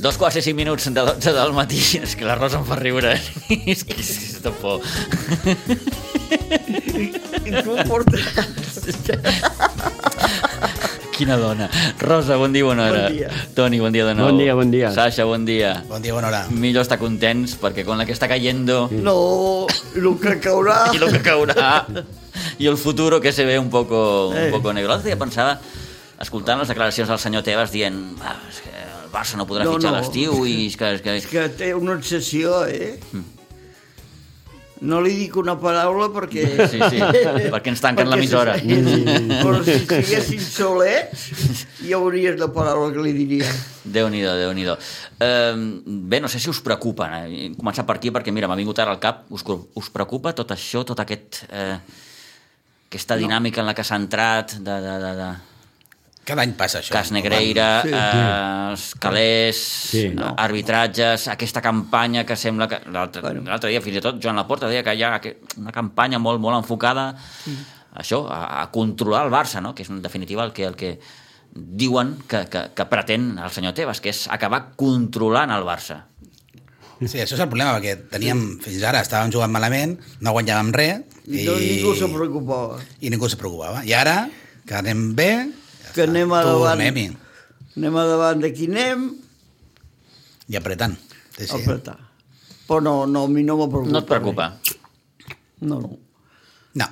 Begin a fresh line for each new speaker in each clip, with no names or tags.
Dos quarts i cinc minuts de 12 del matí. És que la Rosa em fa riure. eh? És que, és que és de por.
I tu em portaràs.
Quina dona. Rosa, bon dia, bona hora.
Bon dia.
Toni, bon dia de nou.
Bon dia, bon dia.
Sasha, bon dia.
Bon dia, bona hora.
Millor estar contents perquè con la que està cayendo
No, el que caurà...
y Mm. lo que caurà i el futuro que se ve un poco, un
Eh.
poco negro. L'altre dia pensava, escoltant les declaracions del senyor Tebas, dient "Ah, és que el Barça no podrà
No,
fitxar
no.
a l'estiu i és que... És que, és que...
que té una obsessió, eh? No li dic una paraula perquè...
Mm. Sí, sí, perquè ens tanquen l'emissora. Mm.
si- Però si estiguessin solets, hi hauries la paraula que li diria.
Déu-n'hi-do, déu nhi déu um, Bé, no sé si us preocupa, eh? Hem començat per aquí perquè, mira, m'ha vingut ara al cap, us, us preocupa tot això, tot aquest... Eh, aquesta dinàmica en la que s'ha entrat de, de, de, de
Cada any passa això.
Cas Negreira, sí, eh, els calés, sí,
Sí.
no. arbitratges, aquesta campanya que sembla que... L'altre
Bueno.
bueno. dia, fins i tot, Joan Laporta deia que hi ha que- una campanya molt, molt enfocada a això, a, a controlar el Barça, no? que és en definitiva el que, el que diuen que, que, que pretén el senyor Tebas, que és acabar controlant el Barça.
Sí, això és el problema, perquè teníem, fins ara estàvem jugant malament, no guanyàvem res,
I...
i,
Doncs ningú se preocupava.
i ningú se preocupava. I ara, que anem bé, ja
Que
està,
anem a davant.
tornem-hi,
Anem a davant de qui anem
i apretant. Sí,
sí. a
sí.
apretar. Però no, no, a mi no me preocupa.
No et preocupa.
No, no.
No,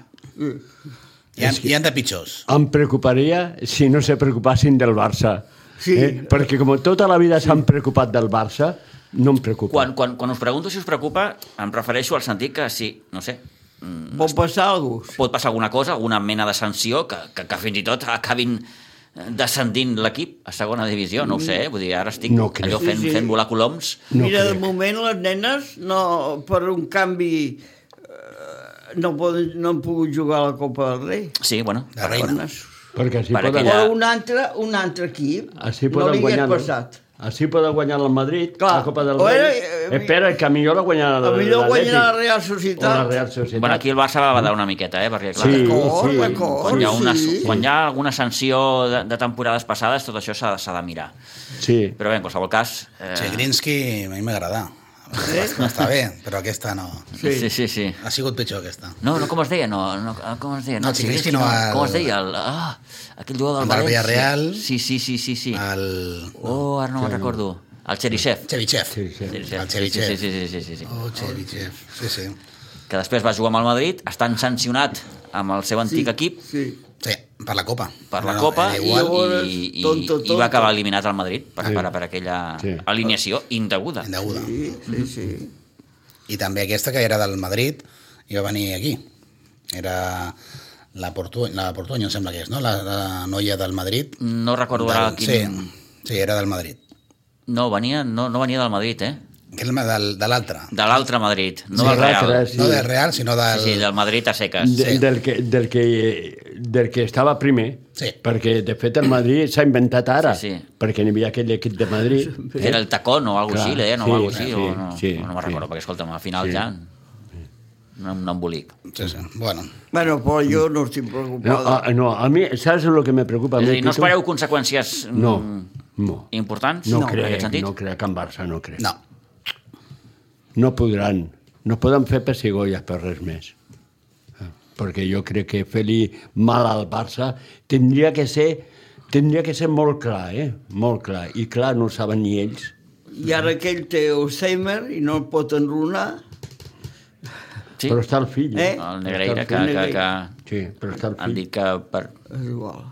hi ha, hi ha de pitjors.
Em preocuparia si no se preocupassin del Barça.
Sí.
Eh? Perquè com tota la vida s'han preocupat del Barça, no em preocupa.
Quan, quan, quan us pregunto si us preocupa, em refereixo al sentit que si, no sé, Mm.
Pot passar alguna cosa.
pot passar alguna cosa, alguna mena de sanció que, que, que fins i tot acabin eh, descendint l'equip a segona divisió, no ho sé, eh? vull dir, ara estic
No crec.
allò fent,
Sí, sí.
fent volar coloms.
No
Mira, de
crec.
moment les nenes no, per un canvi eh, no, poden, no han pogut jugar a la Copa del Rei.
Sí, bueno,
Ah,
La reina.
Bones.
Perquè així
Per
poden,
aquella-
aquella...
O un altre, un altre equip.
així
no
poden
li
guanyar...
hagués passat.
Així poden guanyar el Madrid,
Clar.
la Copa del
O
Rei.
era-
Eh, Espera, que millor la guanyarà
A millor
l'Atlètic.
guanyar la Real
O la
Societat.
Real Societat.
bueno, aquí el Barça va badar una miqueta, eh? perquè clar,
Sí,
D'acord,
sí,
d'acord,
quan, hi ha una,
sí.
quan hi ha alguna sanció de, de temporades passades, tot això s'ha s'ha de mirar.
Sí.
Però bé, en qualsevol cas... Eh,
Sí, Grinsky a mi m'agrada.
Eh?
Està bé, però aquesta no.
sí, sí, sí. sí.
Ha sigut pitjor, aquesta.
No, no, com es deia, no, no com es deia, no,
No, Zielinski no, el-
com es deia, el, ah, aquell jugador del
Amb el
València.
Villarreal. Ah,
Sí, sí, sí, sí, sí.
El
Oh, ara no me'n recordo. El Cherisev.
Chevichev.
Sí, sí.
Cherisev.
El
sí,
Cherisev.
sí, sí, sí, sí, sí, sí.
Oh, Chevichev. Sí, sí.
Que després va jugar amb el Madrid, estan sancionat amb el seu antic equip
Sí.
Sí, per la Copa.
per la
No, no,
Copa i,
era Igual,
llavors,
i, i,
tonto,
i
tonto.
va acabar eliminat al Madrid per,
Sí.
per, per aquella
Sí.
alineació indeguda.
indeguda.
Sí, sí, sí.
I també aquesta que era del Madrid i va venir aquí. Era la, Portu la Portuanya, em sembla que és, no? La, la noia del Madrid.
No recordo ara
Del,
quin...
sí, sí, era del Madrid.
No, venia, no, no venia del Madrid, eh?
Que era del, de l'altre.
De l'altre Madrid, no
Sí,
del Real.
l'altre,
Sí,
sí.
No del Real, sinó del...
sí, del Madrid a seques.
De,
Sí.
del, que, del, que, del que estava primer,
Sí.
perquè de fet el Madrid s'ha inventat ara,
Sí, sí.
perquè n'hi havia aquell equip de Madrid.
Era el tacón o alguna cosa
Clar,
així, le deien, o
sí,
alguna cosa així,
sí,
o no,
sí,
no me'n
sí.
recordo, perquè escolta'm, al final
Sí.
ja... No, no embolic.
Sí, sí. Bueno,
Bueno, però jo no estic
No, ah.
preocupada.
a, no, a mi, saps el que me preocupa? a
És a
mi,
dir, no
Pitu?
espereu conseqüències
No,
mm,
no.
importants
No,
en
crec,
aquest sentit?
no crec, en Barça no crec.
no.
no podran, no poden fer pessigolles per res més. Eh, Perquè jo crec que fer-li mal al Barça tindria que ser tindria que ser molt clar, eh? Molt clar. I clar, no ho saben ni ells.
I ara aquell té Alzheimer i no el pot enrunar.
Sí?
Però està el fill.
Eh?
El Negreira, que,
Està el
que,
Negreira.
que
fill. Sí, però està el
han
fill.
dit que per...
És igual.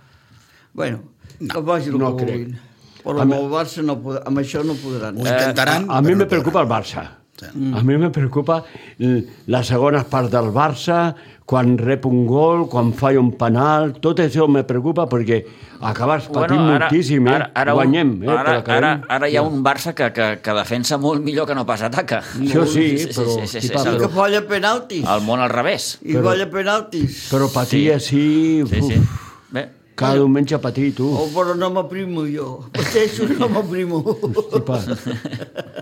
Bueno, que vagi el
no
que
crec.
vulguin. Però amb el Barça no podrà, amb això no podran.
Ho
Eh,
Eh,
intentaran,
A, a mi
però no
me preocupa el Barça.
Sí.
A mi me preocupa l- la segona part del Barça, quan rep un gol, quan falla un penal, tot això me preocupa perquè acabes patint moltíssim, eh?
un-
Guanyem, eh?
ara,
però acabem-
ara, ara hi ha un Barça que, que, que defensa molt millor que no pas ataca.
Això sí, però, tipa,
és
I
el-
que falla penaltis.
El món al revés.
I falla penaltis.
Però patir sí. així...
Sí, sí.
uf,
Bé,
Cada diumenge patir, tu.
Oh, però no m'aprimo jo. Pateixo i no m'aprimo.
Tipa.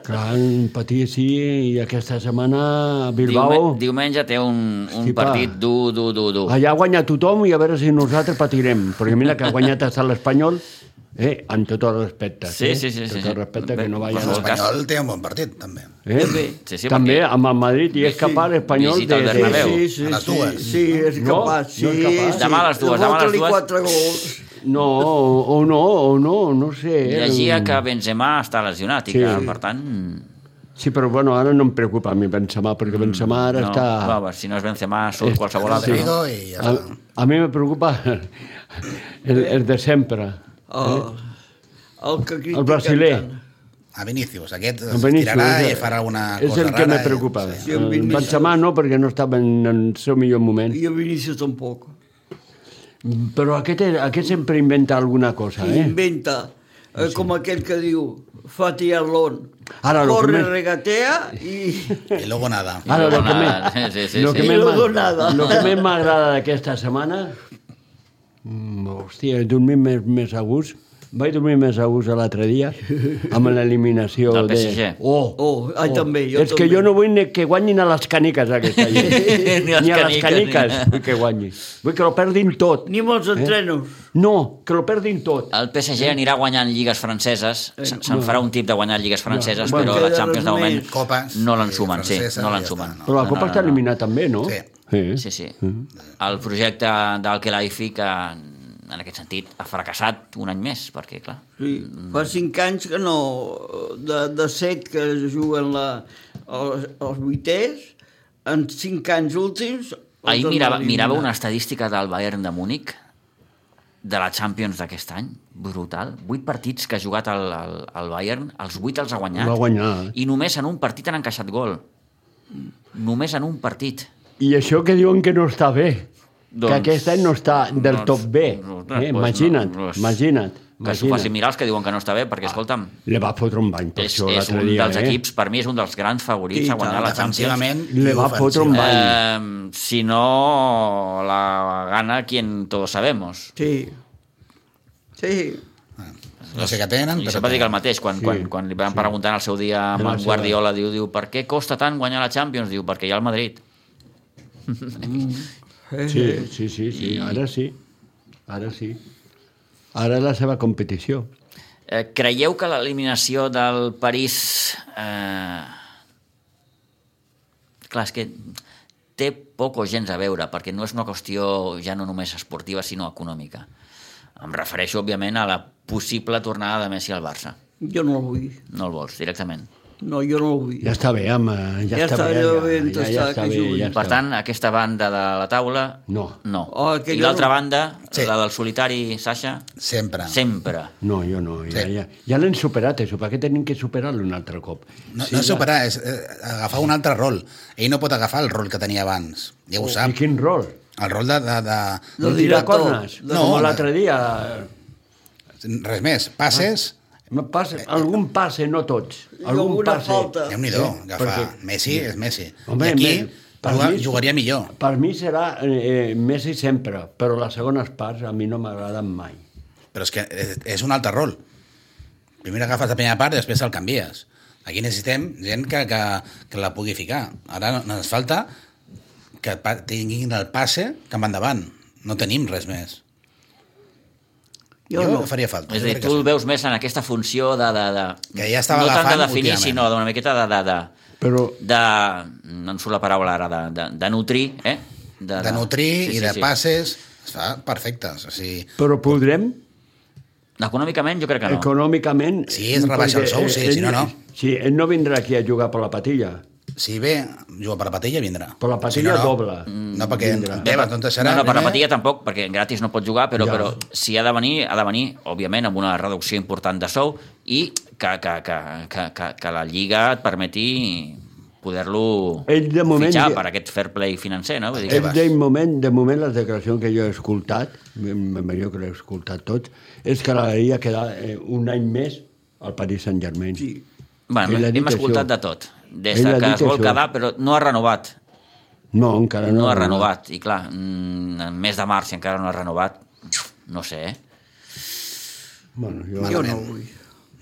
Clar, patir així i aquesta setmana a Bilbao...
diumen- diumenge té un, un
Hosti, pa.
partit dur, dur, dur, dur.
Allà guanya tothom i a veure si nosaltres patirem. Perquè mira que ha guanyat estat l'Espanyol eh? amb tot el respecte.
Sí,
eh?
sí, sí, sí,
Tot
sí.
el respecte, que no
Bé,
vaya...
per favor.
a...
L'Espanyol té un bon partit, també.
Eh?
Sí, sí, sí,
També
perquè-
amb el Madrid i és capaç l'Espanyol
Visita el Bernabéu.
Sí, sí,
A les
sí,
dues.
sí, és
No,
capaç. Sí,
no és capaç.
sí.
Demà a les dues, demà a les
Falta-li
dues.
quatre gols.
No, o, o no, o no, no sé. eh?
Llegia que Benzema està lesionat i
Sí.
que, per tant...
Sí, però bueno, ara no em preocupa a mi Benzema, perquè Benzema ara
Mm, no,
està...
va, va, si no és Benzema, surt qualsevol altre.
Rodrigo
No?
i ja
A,
està.
a mi me preocupa el, el de sempre,
El, Ah, el que critiquen
el brasiler.
tant.
A Vinícius, aquest
El
es
Vinícius,
Doncs tirarà i
és-
farà alguna
És
cosa
el
rara.
que me
i-
preocupa.
sí.
Sí, el
El
Vinícius.
Benzema no, perquè no estava en el seu millor moment.
I a Vinícius tampoc.
Però aquest, aquest sempre inventa alguna cosa,
eh?
eh?
inventa, eh, com aquell que diu Fatih Arlon.
Ara, lo que
Corre,
més-
regatea i...
I luego nada.
Ara, lo que
Nada,
més-
sí, sí,
lo
sí.
que
I
més
luego
m'ag-
nada.
lo que més m'agrada d'aquesta setmana... Mm, hòstia, he dormit més, més a gust. Vaig dormir més a gust l'altre dia amb l'eliminació
Del
de...
PSG.
Oh,
Oh, ai, també, jo
És que
també.
jo no vull ni que guanyin a les caniques aquesta gent.
Ni a les
ni a les
caniques,
caniques
ni-
vull que guanyin. Vull que ho perdin tot.
Ni molts entrenos.
No, que lo perdin tot.
El PSG anirà guanyant lligues franceses,
Eh,
se- se'n farà un tip de guanyar lligues franceses,
Bueno,
però
queda
la Champions de
res
moment
més.
Copes,
no
eh,
l'ensumen, sí,
francesa,
no
ja
l'ensumen.
està, no. Mm.
Però la
No,
Copa
no,
està
no.
eliminada també, no?
Sí.
Sí, sí. El projecte del Kelaifi que en aquest sentit ha fracassat un any més, perquè clar,
Doncs
Sí. Fa cinc anys que no... De, de set que juguen la, els, els vuiters, en cinc anys últims... els
ahir
han
mirava,
eliminat.
mirava una estadística del Bayern de Múnich de la Champions d'aquest any, brutal. Vuit partits que ha jugat el, el, el Bayern, els vuit els ha guanyat.
L'ha
eh.
guanyat.
I només en un partit han encaixat gol.
Mm.
Només en un partit.
I això que diuen que no està bé, doncs,
Doncs-
que aquest any no està del
doncs-
tot bé.
doncs,
eh?
doncs,
Imagina't,
no, no és-
imagina't.
Que s'ho facin
imagina't.
mirar els que diuen que no està bé, perquè, escolta'm,
Le va fotre un bany per
és,
això
és
l'altre
un
dia,
dels
eh?
equips, per mi és un dels grans favorits
I
a guanyar
tant,
la Champions.
Defensivament
Le
i
va fotre un
ofensivament.
bany.
Eh, si no, la gana quien todos sabemos.
Sí. Sí.
No sé què tenen,
Li
però...
sempre dic el mateix, quan, sí, quan, quan li van sí. preguntar al seu dia a
En el
Marc
seu-
Guardiola, diu, diu, per què costa tant guanyar la Champions? Diu, perquè hi ha el Madrid.
Eh,
Sí, sí, sí, sí, ara sí. Ara sí. Ara és la seva competició.
Eh, creieu que l'eliminació del París... Eh... Clar, és que té poc o gens a veure, perquè no és una qüestió ja no només esportiva, sinó econòmica. Em refereixo, òbviament, a la possible tornada de Messi al Barça.
Jo no el vull.
No el vols, directament.
No, jo no el vull.
Ja està bé, home, ja,
Ja està
està, bé.
allò
ja,
ben
ja, ja
tastat
està
que
bé,
jugui.
ja
Per
està.
tant, aquesta banda de la taula...
No.
No.
Oh,
I
aquella
l'altra
no.
banda,
Sí. Ah.
la del solitari, Sasha,
Sempre.
sempre.
No, jo no, ja,
Sí.
ja, ja l'hem superat, això, per què tenim que superar-lo un altre cop?
No, no és superar, és eh, agafar un altre rol. Ell no pot agafar el rol que tenia abans. Ja ho
Oh, I
sap.
quin rol?
El rol de... de, de...
No
Un
dirà
tiracornes,
tot.
no,
No,
com
no.
l'altre dia.
Res més. Passes,
Me Passe, algun passe, no tots.
I
Algun
alguna
passe.
falta.
déu nhi
Ah. Sí,
agafar.
perquè-
Messi és Messi.
Home,
I aquí
me- per
juga,
mi-
jugaria millor.
Per mi serà eh, eh, Messi sempre, però les segones parts a mi no m'agraden mai.
Però és que és, és un altre rol. Primer agafes la primera part i després el canvies. Aquí necessitem gent que, que, que la pugui ficar. Ara no- ens falta que pa- tinguin el passe que van davant. No tenim res més.
Jo no.
faria falta.
És a
Jo
dir,
crec que
tu
sí.
el veus més en aquesta funció de... de, de
Que ja estava
no tant de
agafant
definir,
últimament.
sinó d'una miqueta de... de, de
Però
de... no em surt la paraula ara, de, de, de nutrir, eh?
de nutrir sí, i de sí. passes es fa perfectes. O sigui,
però podrem,
Econòmicament jo crec que no.
econòmicament...
Sí, es rebaixa el
perquè,
sou, sí,
eh,
si no,
ell-
no.
Sí, ell no vindrà aquí a jugar per la patilla.
si ve, juga per la patella, vindrà.
Per la patilla doble.
No, perquè
Vindrà.
Tebas no et eh? deixarà.
no, no, Eh, per la
primer.
patilla tampoc, perquè gratis no pot jugar, però,
Ja.
però si ha de venir, ha de venir, òbviament, amb una reducció important de sou i que, que, que, que, que, que la Lliga et permeti poder-lo
Ell, de moment,
fitxar
ja-
per aquest fair play financer, no? Vull dir
Ell,
que...
Tebas.
de moment, de moment, les declaracions que jo he escoltat, mm, jo que l'he escoltat tots, és que l'agradaria quedar eh, un any més al Paris Saint-Germain.
Sí.
Bueno,
Ell ha
hem
dit
escoltat
això.
de tot. Des
Ell
de
ha
que
dit
es vol
això.
quedar, però no ha renovat.
No, encara no.
No ha renovat. I clar, mm, en mes de març, si encara no ha renovat, no sé, eh?
Bueno, jo...
Jo no el vull.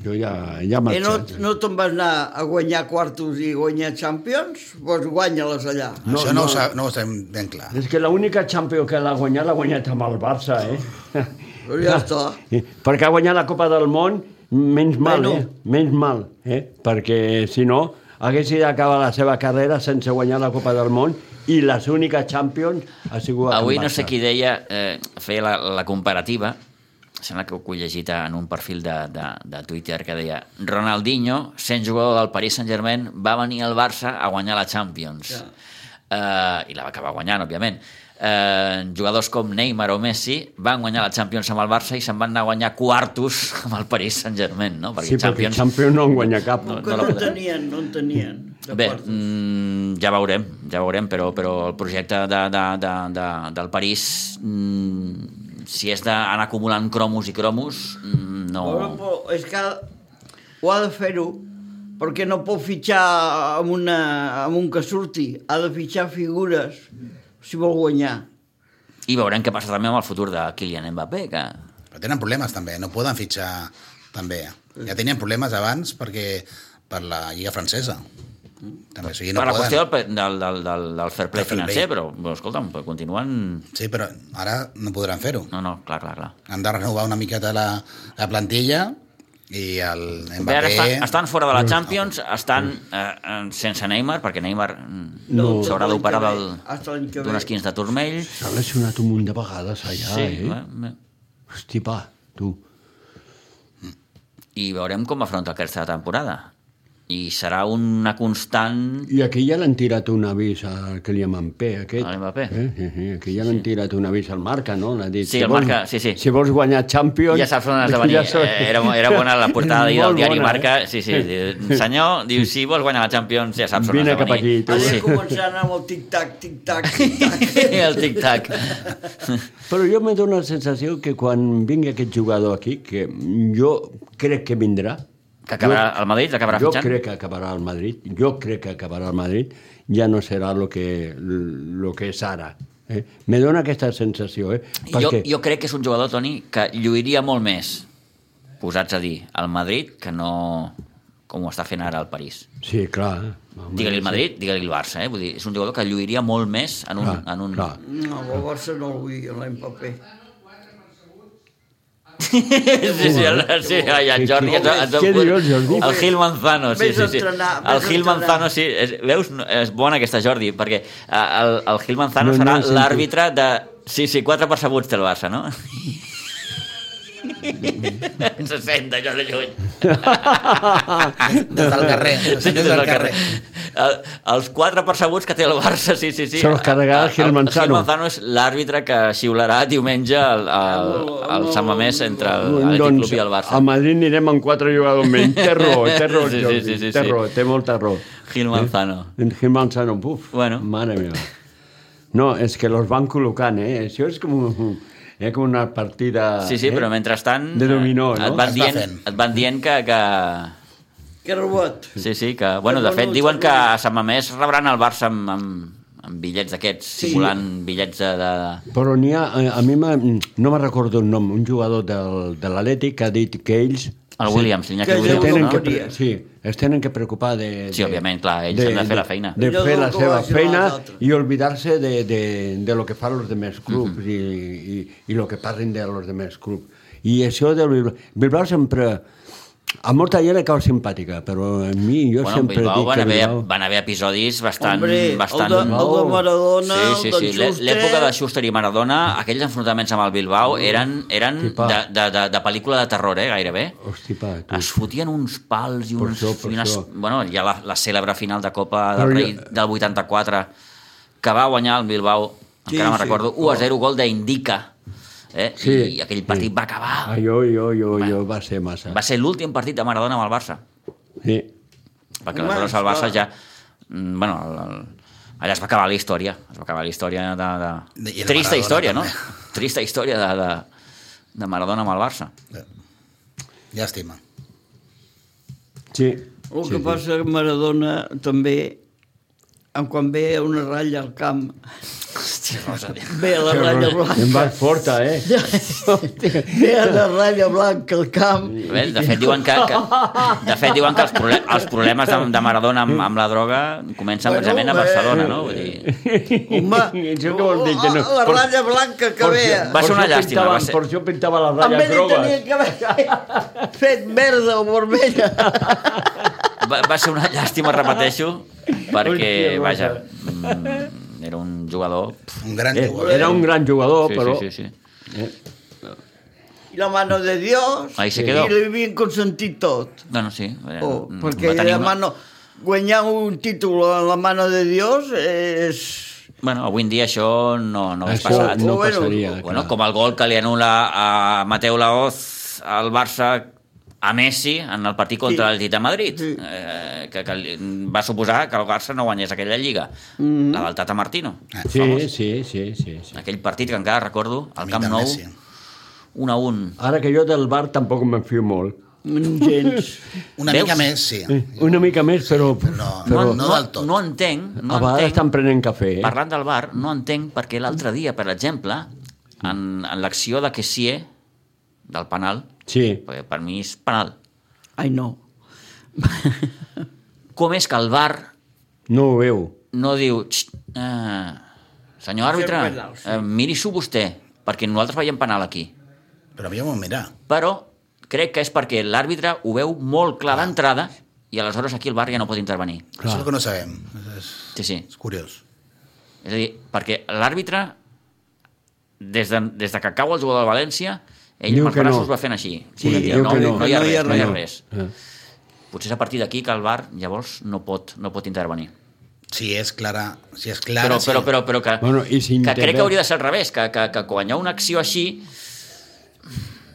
Jo ja, ja he
I no,
marxat.
no te'n vas anar a guanyar quartos i guanyar Champions? Doncs guanya-les allà.
No,
No, Això no,
no.
Ho, sa- no ho sabem ben clar.
És que l'única Champions que l'ha guanyat l'ha guanyat amb el Barça, eh?
Però ja està.
Eh, Perquè ha guanyat la Copa del Món, menys mal,
Bueno.
eh? Menys mal, eh? Perquè, si no, hagués d'acabar la seva carrera sense guanyar la Copa del Món i les úniques Champions ha sigut amb
Avui
Barça.
no sé qui deia, eh, feia la, la comparativa, sembla que ho he llegit en un perfil de, de, de Twitter que deia Ronaldinho, sent jugador del Paris Saint-Germain, va venir al Barça a guanyar la Champions.
Ja.
Eh, I la va acabar guanyant, òbviament. Eh, jugadors com Neymar o Messi van guanyar la Champions amb el Barça i se'n van anar a guanyar quartos amb el Paris Saint-Germain, no?
Sí, perquè Champions... Champions no en guanya cap.
No,
Que
la
no en
podrem.
tenien, no en tenien. de
Bé,
quartos.
mm, ja veurem, ja veurem, però, però el projecte de, de, de, de, del París, mm, si és d'anar acumulant cromos i cromos, mm, no...
Però, però és que ho ha de fer-ho, perquè no pot fitxar amb, una, amb un que surti, ha de fitxar figures si vol guanyar.
I veurem què passa també amb el futur de Kylian Mbappé, que...
Però tenen problemes també, no poden fitxar també. Ja tenien problemes abans perquè per la Lliga Francesa. També, o sigui, no
per la
poden.
qüestió del, pe- del, del, del, del fair play
Del fair play.
financer, però, però, escolta'm, però continuen...
Sí, però ara no podran fer-ho.
No, no, clar, clar, clar.
Han de renovar una miqueta la, la plantilla i el
Bé, ara
Mbappé...
estan, estan fora de la Champions, estan eh, eh, sense Neymar, perquè Neymar mm,
No.
s'haurà d'operar del-
Hasta l'any que ve.
d'unes 15 de turmell.
S'ha lesionat un munt de vegades allà,
sí,
eh?
bé, bé.
Hosti, pa, tu.
i veurem com afronta aquesta temporada. I serà una constant...
I aquí ja l'han tirat un avís al que li Mbappé, aquest.
A l'Mbappé.
Eh? Sí, sí, aquí ja l'han tirat un avís al Marca, no? L'ha dit,
Sí, el Marca, sí, sí.
Si vols guanyar Champions...
Ja saps on has de venir.
Ja saps.
Eh, Era, era bona la portada d'ahir del
Molt
diari
bona,
Marca.
eh?
Sí, sí. diu, Senyor, diu, si vols guanyar la Champions, ja saps on
Vine
has de
cap
venir.
aquí, tu. eh?
Ha de
Sí.
començar amb el tic-tac, tic-tac, tic-tac.
El tic-tac.
Però jo me dóna la sensació que quan vingui aquest jugador aquí, que jo crec que vindrà...
Que acabarà el Madrid, acabarà
jo
fitxant?
crec que acabarà al Madrid, jo crec que acabarà al Madrid, ja no serà el que, lo que és ara. Eh? Me dóna aquesta sensació, eh?
Jo, jo crec que és un jugador, Toni, que lluiria molt més, posats a dir, al Madrid, que no com ho està fent ara el París.
Sí, clar. eh? Home,
Digue-li el
sí.
Madrid, digue-li el Barça, eh? Vull dir, és un jugador que lluiria molt més en un...
Clar,
en un...
clar.
No, el Barça no el vull, l'Empapé.
Sí, sí, el, sí, ai, el Jordi... ens ha- ens ha
Què
fot-
diu el Jordi?
El Gil Manzano, sí,
Vés a
sí, sí.
entrenar,
El
vés a
Gil
entrenar.
Manzano, sí. És, veus, No, és bona aquesta, Jordi, perquè eh, el, el Gil Manzano
No, no
serà
el sento.
l'àrbitre de... Sí, sí, quatre percebuts té el Barça, no? Se sent allò de lluny.
Des del carrer.
Sí,
des del carrer.
El, els quatre percebuts que té el Barça, sí, sí, sí.
Són els que ha de ganar el Gil Manzano.
El Gil Manzano és l'àrbitre que xiularà diumenge al, al, al Sant Mamés entre el, el Club i el Barça.
a Madrid anirem doncs, amb quatre jugadors menys. Té raó, té raó,
Sí, sí,
Jordi,
sí, sí,
té
sí.
raó, té molta raó.
Gil Manzano.
En Gil Manzano, puf,
Bueno.
mare meva. No, és que los van col·locant, eh? Això és com, un- eh, com una partida...
Sí, sí,
eh?
però mentrestant...
De dominó,
eh,
no?
Et van
Es va
dient,
fent.
et van dient que, que...
Que rebot.
Sí, sí, que... Bueno, de
Però
fet,
no,
diuen que
no.
a Sant Mamés rebran el Barça amb, amb, amb bitllets d'aquests, simulant bitllets de... de...
Però n'hi ha, eh, a, a mi m'ha- no me recordo el nom, un jugador del, de l'Atlètic que ha dit que ells
El Williams, l'Iñaki
Que
se
Déu
Williams,
tenen
no?
que,
Que...
pre- sí, es tenen que preocupar de...
Sí,
de-
òbviament, clar, ells han de fer la feina.
De,
Jo
fer la
dubto que
seva
vagin
feina
als altres.
i oblidar-se de, de, de lo que fan els demés clubs i, i, i lo que parlen de los demés clubs. I això de Bilbao, Bilbao sempre... A molta gent li cau simpàtica, però a mi jo
Bueno,
sempre
Bilbao
dic
van
que
haver,
Bilbao... Oh.
van haver episodis bastant...
Hombre, el
bastant...
de- el de Maradona,
sí, sí,
el d'en
sí. l'è-
Schuster.
L'època de Schuster i Maradona, aquells enfrontaments amb el Bilbao eren, eren
Oh. Tipa. Oh.
de, de, de, de pel·lícula de terror, eh, gairebé.
Hosti, pa, tu.
Es fotien uns pals i,
Per
uns,
això, per
i unes...
això.
Bueno, hi ha la, la cèlebre final de Copa del
Però
Rei
jo-
del 84 que va guanyar el Bilbao,
Sí,
encara me'n
sí.
recordo, 1 a 0 gol d'Indica. Eh?
oh. Sí,
I aquell partit
sí.
va acabar.
Ah, jo, jo, jo, jo, va ser massa.
Va ser l'últim partit de Maradona amb el Barça.
Sí.
Perquè
Home,
aleshores el Barça
clar.
ja... mm, Bueno, el, el, allà es va acabar la història. Es va acabar la història de... de...
I el
Trista
Maradona,
història, no?
també.
Trista història de, de, de Maradona amb el Barça.
Llàstima.
El
Sí. sí,
Uh, que
sí.
passa que Maradona també, en quan ve una ratlla al camp, Ve a la ratlla blanca.
Em vas forta, eh?
Ve a la ratlla blanca al camp.
Bé, de fet, diuen que, que, de fet, diuen que els, prole els problemes de, de Maradona amb, amb la droga comencen
Bueno,
precisament a
bé.
Barcelona, no? Vull dir,
Home, Oh,
Això què vols dir? Que no?
la ratlla blanca que ve.
Va ser una llàstima, va ser-
Per això pintava la
Amb
ratlla
ell hi
groga.
tenia que haver fet verda o vermella.
va, va ser una llàstima, repeteixo, perquè,
Hòstia,
vaja,
vaja.
mm, era un jugador... pf,
Un gran
Eh,
jugador.
Era un gran jugador,
Sí,
Oh, però... eh,
sí, sí, sí.
I la mano de Dios.
Ahí se
i
quedó.
li havien consentit tot.
No, no, sí. Era,
Oh,
mm,
perquè la
una-
mano... Guanyar un títol a la mano de Dios és...
Bueno, avui en dia això no, no hagués
Això
passat.
no
Oh, bueno,
passaria.
Bueno,
Ah, clar.
com el gol que li anula a Mateu Laoz al Barça a Messi en el partit contra
Sí.
el Tita Madrid,
Sí.
eh, que, que li- va suposar que el Barça no guanyés aquella lliga,
Mhm.
la del Tata Martino.
Ah,
Sí, sí, sí, sí, sí.
Aquell partit que encara recordo, al
Amic
Camp
de
Nou,
Messi.
1 a 1.
Ara que jo del bar tampoc me'n fio molt.
Gens.
Una
Veus?
mica més, sí.
Una mica més, però...
No,
però
no del tot.
no entenc, no
a vegades
entenc,
estan prenent cafè, eh?
parlant del bar, no entenc perquè l'altre dia, per exemple, en, en l'acció de Kessie, del penal,
Sí.
perquè per mi és penal,
Ai, no.
com és que el bar
No ho veu.
no diu "Xt, eh, senyor àrbitre,
Fem penal, sí.
eh, miri-s'ho vostè, perquè nosaltres veiem penal aquí.
Però havíem de mirar.
Però crec que és perquè l'àrbitre ho veu molt clar d'entrada i aleshores aquí el bar ja no pot intervenir.
Això és el que no sabem. És,
Sí, sí.
és curiós.
És a dir, perquè l'àrbitre, des, de, des de que cau el jugador del València, ell
Diu
amb els
que no.
braços va fent així.
Sí,
Volem dir,
diu
no,
que
no,
no.
hi ha
No
res, no hi ha
no.
res.
Eh.
Potser és a partir d'aquí que el bar llavors no pot, no pot intervenir.
Si és clara, si és clara,
Però,
sí.
però, però, però que,
Bueno, i si
que crec
intervé-
que hauria de ser al revés, que, que, que quan hi ha una acció així,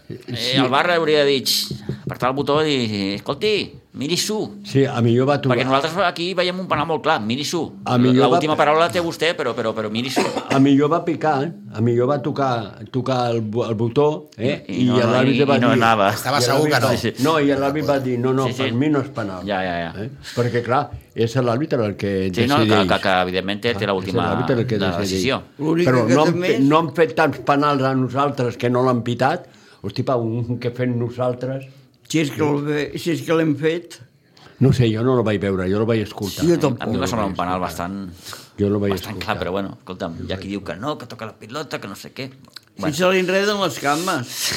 eh, el bar hauria de dir, "Xt", apretar el botó i dir, escolti, miri-s'ho,
Sí, a mi jo va
perquè
trobar...
nosaltres aquí veiem un penal molt clar, miri-s'ho.
A mi jo va-
L'última paraula la té vostè, però, però, però miri-s'ho.
A mi jo va picar, eh? a mi jo va tocar, tocar el, bu- el botó, eh? I,
no-
l'àrbitre va
i no
dir...
anava.
Estava
I
segur que no.
l'àrbitre va- No, i l'àrbitre va dir, no, no,
Sí, sí.
per mi no és penal.
Ja, ja, ja.
Eh? Perquè, clar, és l'àrbitre el que
Sí,
decideix.
no, que, que, que evidentment té, té l'última
És l'àrbitre el Ah, que
la
decideix.
decisió.
L'únic
Però
que
no, han,
també
fet-
és-
no han fet tants penals a nosaltres que no l'han pitat. Hosti, pa, un que fem nosaltres...
Si és que l'hem si és que l'hem fet...
No sé, jo no la vaig veure, jo la vaig escoltar.
Sí, jo
A mi em va semblar un penal bastant,
Jo la vaig
bastant clar,
escoltar.
però bueno, escolta'm, hi ha qui diu que no, que toca la pilota, que no sé què.
Si se li enreden les cames.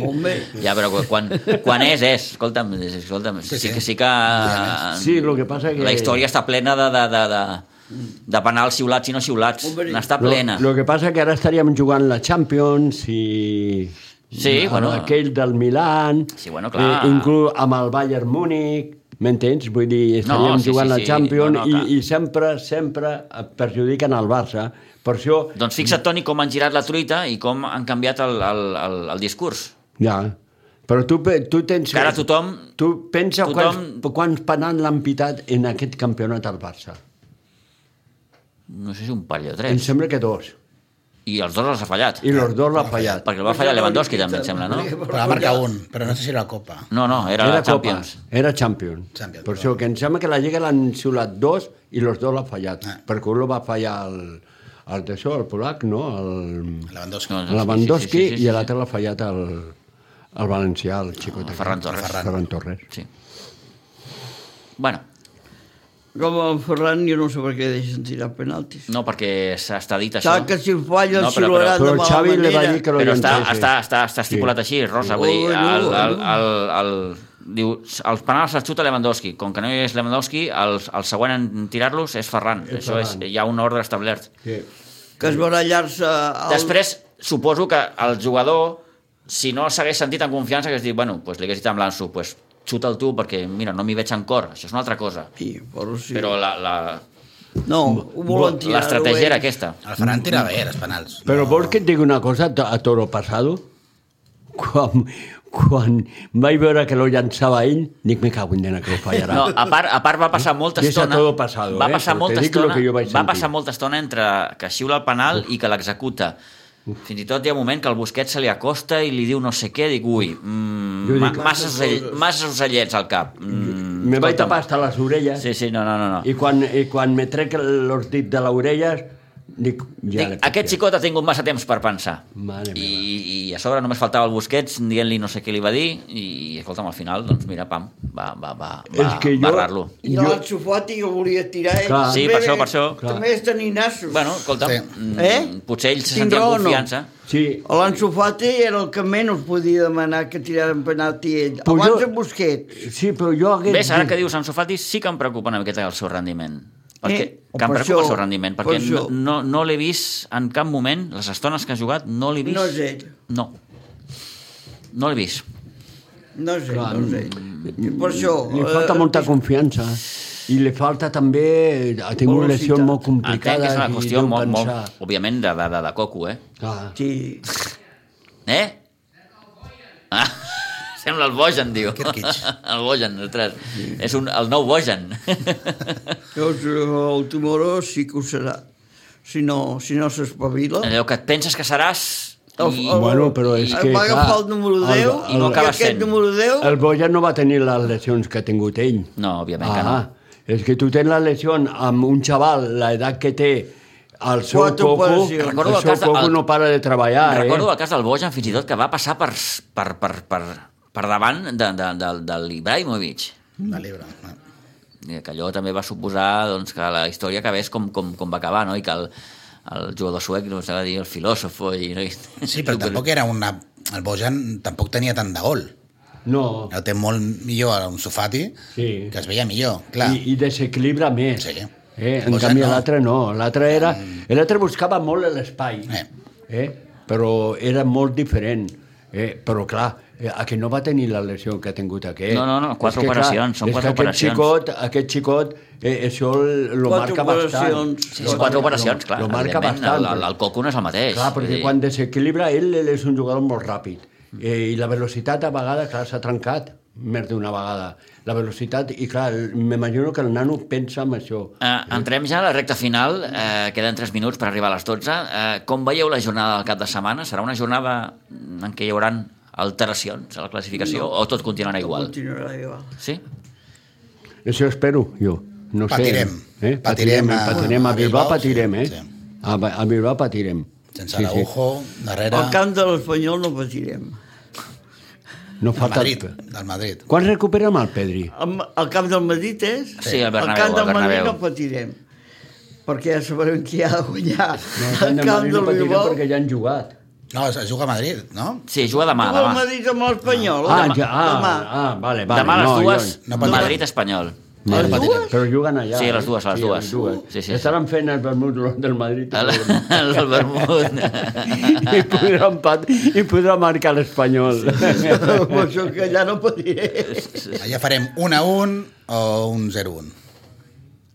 Home,
Ja, però quan, quan és, és. Escolta'm, és- escolta'm sí,
Sí,
sí,
sí.
que sí que... eh,
Sí, lo que pasa que-
La història està plena de, de, de, de, de penals xiulats i no xiulats.
Hombre.
N'està plena.
Lo, lo que passa que ara estaríem jugant la Champions i...
Sí,
amb
bueno.
aquell del Milan,
Sí, bueno, clar.
eh, inclús amb el Bayern Múnich, m'entens? Vull dir, estaríem
No, sí,
jugant
sí,
la
sí.
Champions
No, no, clar.
i, i sempre, sempre perjudiquen el Barça. Per això,
Doncs fixa't, Toni, com han girat la truita i com han canviat el, el, el, el discurs.
ja... Però tu, pe- tu tens...
Que ara tothom...
Tu pensa
tothom-
quants, quants penals l'han pitat en aquest campionat al Barça.
No sé si un parell o
Em
tres.
sembla que dos.
I els dos els ha fallat.
I los dos l'han fallat.
Perquè el va fallar Lewandowski, també, em sembla, no?
Però va marcar un, però no sé si era la Copa.
No, no, era, la Champions.
Copa, era Champions.
Champions,
per això que em sembla que la Lliga l'han xiulat dos i els dos l'han fallat.
Ah.
Perquè un lo va fallar el, el d'això, el polac, no? El,
Lewandowski.
No, no.
el Lewandowski
Ah, sí, sí, sí, sí,
i
sí.
l'altre l'ha fallat el, el valencià, el xicot.
el Ferran Torres.
Ferran, Ferran Torres.
Sí. Bueno,
Com el Ferran, jo no sé per què deixen tirar penaltis.
no, perquè s'ha està dit això.
Saps que si falla el
No,
no,
però- però-
xiularà de
Però
mala
Xavi
manera.
li va dir que no
Però
hi
està,
entrés.
està, està, està estipulat així, Rosa. Vull dir,
Bueno,
el, el,
bueno.
el, el, diu, els penals els xuta Lewandowski. Com que no hi és Lewandowski, el, el següent en tirar-los és Ferran. Això és, hi ha un ordre establert.
Sí.
Que es barallar-se... Al...
Després, suposo que el jugador, si no s'hagués sentit en confiança, hagués dit, bueno, pues li hagués dit amb l'Anso, pues, xuta'l tu, perquè, mira, no m'hi veig en cor. Això és una altra cosa.
Sí, però sí.
Però la, la,
No, ho volen tirar.
l'estratègia era aquesta.
El Ferran tira bé, els penals.
Però vols que et digui una cosa a to- a Toro Passado? Quan, quan vaig veure que lo llançava ell, dic, me cago en dena que ho fallarà.
No, a part, a part va passar molta
Deixa
estona...
todo pasado,
va
eh,
passar
però
molta
te dic lo
estona,
que jo vaig
va
sentir.
passar molta estona entre que xiula el penal i que l'executa. Fins i tot hi ha un moment que el Busquets se li acosta i li diu no sé què, dic, ui,
Jo
mm,
dic-
ma- massa, ocell, massa ocellets al cap. Mm,
Me vaig
escolta'm.
eh? tapar hasta les orelles
Sí, sí, no, no, no. no.
I quan, i quan me trec els dits de les orelles, Dic, ja
Dic,
l'he
aquest
copiat.
xicot ha tingut massa temps per pensar.
Mare
I,
meva.
I a sobre només faltava el Busquets dient-li no sé què li va dir i, escolta'm, al final, doncs mira, pam, va, va, va, va
És que jo-
barrar-lo.
I
Jo-
jo... l'ensofat i el volia tirar. ell
Clar.
Sí, per això, per això.
Clar.
També és tenir nassos.
Bueno, escolta'm,
Sí.
sí.
Eh?
potser ell se
Tinc
sentia
raó
amb
o no?
confiança.
Sí,
L'Anso Fati era el que menys podia demanar que tiraren penalti ell.
Però
Abans
jo-
jo... en Busquets.
sí, però jo hagués...
Ves, ara
dit-
que dius Ansu Fati, sí que em preocupa una miqueta el seu rendiment. Perquè,
Eh,
que em
per
preocupa el
això,
seu rendiment,
per
perquè no,
això.
no, no l'he vist en cap moment, les estones que ha jugat, no l'he vist.
No és ell.
No. No l'he vist.
No sé,
Clar,
no sé. Per això...
Li falta
eh,
molta confiança i li falta també... Ha tingut
Velocitat.
lesions molt
Entenc que
complicades
és una
i
qüestió
deu
molt,
pensar...
molt, òbviament, de, de, de, de coco, eh?
Clar.
Sí.
Eh? Ah, sembla el Bojan, diu.
Aquest kitsch.
El Bojan, ostres. És un, el nou Bojan.
Llavors, eh, el Timoró sí que ho serà. Si no, si no s'espavila...
Allò que et penses que seràs...
El-
Eh, I,
el-
Bueno, però és
em
que,
Va agafar
clar,
el número
el-
10
i no acaba
i aquest
sent.
número 10...
El Boja no va tenir les lesions que ha tingut ell.
No, òbviament que
Ah,
no.
És que tu tens la lesió amb un xaval, l'edat que té, el seu
Quatre
coco,
operacions.
Recordo el
el seu
cas de-
coco
el-
no para de treballar,
Ah, Recordo
eh?
el cas del Bojan, fins i tot, que va passar per, per, per, per, per davant de, de, de, de l'Ibrahimovic.
De l'Ebre.
I eh, Que allò també va suposar doncs, que la història acabés com, com, com va acabar, no? I que el, el jugador suec no s'ha de dir el filòsofo i... No? I-
Sí, però tampoc era una... El Bojan tampoc tenia tant de gol.
No,
El té molt millor a un Sofati,
Sí.
que es veia millor, clar.
i, i desequilibra més.
Sí.
Eh? En
Boja
canvi,
no. Mm.
l'altre no. L'altre era... L'altre buscava molt l'espai.
Eh.
Eh? Però era molt diferent. Eh? Però, clar, eh, a que no va tenir la lesió que ha tingut aquest.
No, no, no, quatre
És que,
operacions, són
és
quatre
que
operacions.
Aquest xicot, aquest xicot eh, això el- lo
Quatre
marca bastant.
operacions.
Sí, són quatre operacions, clar.
Lo, lo marca
evidentment,
bastant.
el- el- El coco no és eh, el mateix.
Clar,
vull
perquè
dir,
quan desequilibra ell, ell és un jugador molt ràpid.
Mm.
Eh, I la velocitat a vegades, clar, s'ha trencat més d'una vegada. La velocitat, i clar, el- m'imagino que el nano pensa en això.
Eh, entrem ja a la recta final, eh, queden 3 minuts per arribar a les 12. Eh, com veieu la jornada del cap de setmana? Serà una jornada en què hi haurà alteracions a la classificació no. o tot continuarà igual?
Continuarà igual.
Sí?
Això espero, jo. No
Patirem.
sé. Eh? Patirem.
Patirem a-
Patirem, patirem. A,
a
Bilbao
Bilbao,
patirem,
sí,
eh?
sí.
A, Ba- a Bilbao patirem.
Sense Araujo, darrere...
Al camp de l'Espanyol no patirem.
No
Del
falta...
Madrid, del Madrid.
Quan recuperem el Pedri?
Am- Al camp del Madrid és...
Sí, al
al
Bernabéu,
camp del
al
Madrid
Bernabéu.
no patirem. Perquè ja sabrem qui ha de guanyar.
No,
al
el
camp
Madrid no
del
patirem
Bilbao.
perquè ja han jugat.
No, es, es juga a Madrid, no?
Sí, juga demà,
Tu el
demà.
Madrid amb l'Espanyol?
Ah,
Demà-
ja, ah,
demà.
ah, vale, vale.
Demà a les
no,
dues,
jo-
no pot jugar.
Madrid-Espanyol.
No,
Les
no patirem.
dues?
Però juguen allà.
Sí, a
eh?
les dues, a les
Sí,
dues. Sí, sí, sí.
Estaran fent el vermut del Madrid.
El, el vermut.
I podrà, empat, I podrà marcar l'Espanyol.
Amb això que allà no patirem.
Allà farem un a un o un 0-1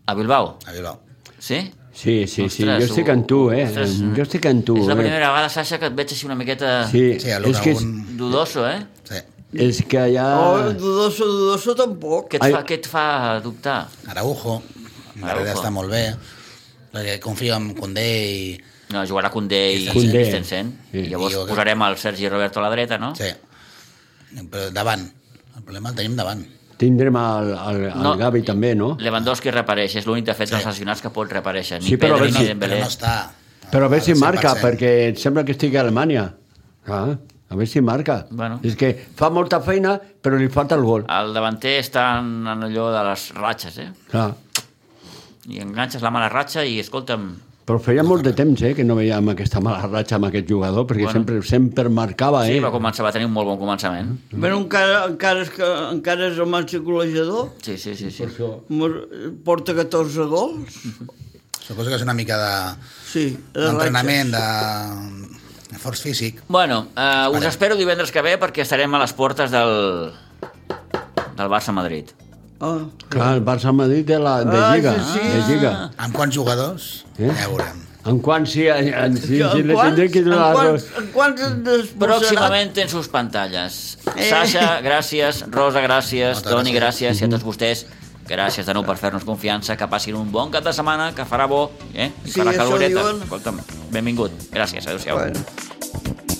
A Bilbao,
a Bilbao.
sí?
Sí, sí, sí,
Ostres,
jo estic en tu, eh?
ostres,
jo estic en tu.
És la
eh?
primera vegada, Sasha, que et veig així una miqueta
Sí,
Sí, a
és
l'una
que, és,
un...
dudoso, eh?
Sí.
és que allà...
Ah.
Oh, dudoso, dudoso tampoc.
Què et,
Ai.
fa, què et fa dubtar?
Araujo, darrere està molt bé. Perquè confio en Condé i...
No, jugarà Condé i
Condé.
Christensen.
Sí.
I llavors
I jo-
posarem el Sergi Roberto a la dreta, no?
Sí. Però davant. El problema el tenim davant.
Tindrem el, el, el
No.
Gavi també, no?
Lewandowski repareix, és l'únic defensa dels nacionals que pot reparèixer. Ni
Sí, però a
Pedri
veure
ni
si-
Dembélé.
Però no està...
Però a veure si
al
marca,
100%.
perquè em sembla que estigui a Alemanya. Ah, a veure si marca.
Bueno.
És que fa molta feina, però li falta el gol.
El davanter està en, en allò de les ratxes, eh?
Ah.
I enganxes la mala ratxa i, escolta'm,
Però feia molt de temps eh, que no veiem aquesta mala ratxa amb aquest jugador, perquè
Bueno.
sempre sempre marcava,
sí,
eh?
va, començar, va tenir un molt bon començament.
Però encara, encara, és que, encara és el màxim golejador.
Sí, sí, sí. sí.
Per això...
Mor- Porta 14 gols.
Suposo que és una mica de-
Sí, de
d'entrenament, de... de forç físic.
Bueno, eh, us espero divendres que ve perquè estarem a les portes del, del Barça-Madrid.
ratxes. Ah.
Clar, el Barça-Madrid de, la, de
Ah,
Lliga.
sí, sí.
De Lliga.
Amb quants jugadors?
Eh?
Ja veurem.
En quant sí, en, en, sí,
Que
sí,
en
le tindré
quants-
que donar
en
dos.
quants, en quants et desplaçarà?
Pròximament tens sus pantalles.
Eh.
Sasha, gràcies. Rosa, gràcies.
Moltes
Toni,
gràcies.
gràcies. I a tots vostès, gràcies de nou per fer-nos confiança. Que passin un bon cap de setmana, que farà bo, eh? I
Sí,
farà
això
caloreta.
diuen.
Escolta'm, benvingut. Gràcies, adéu-siau.
Bueno.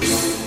Thank you.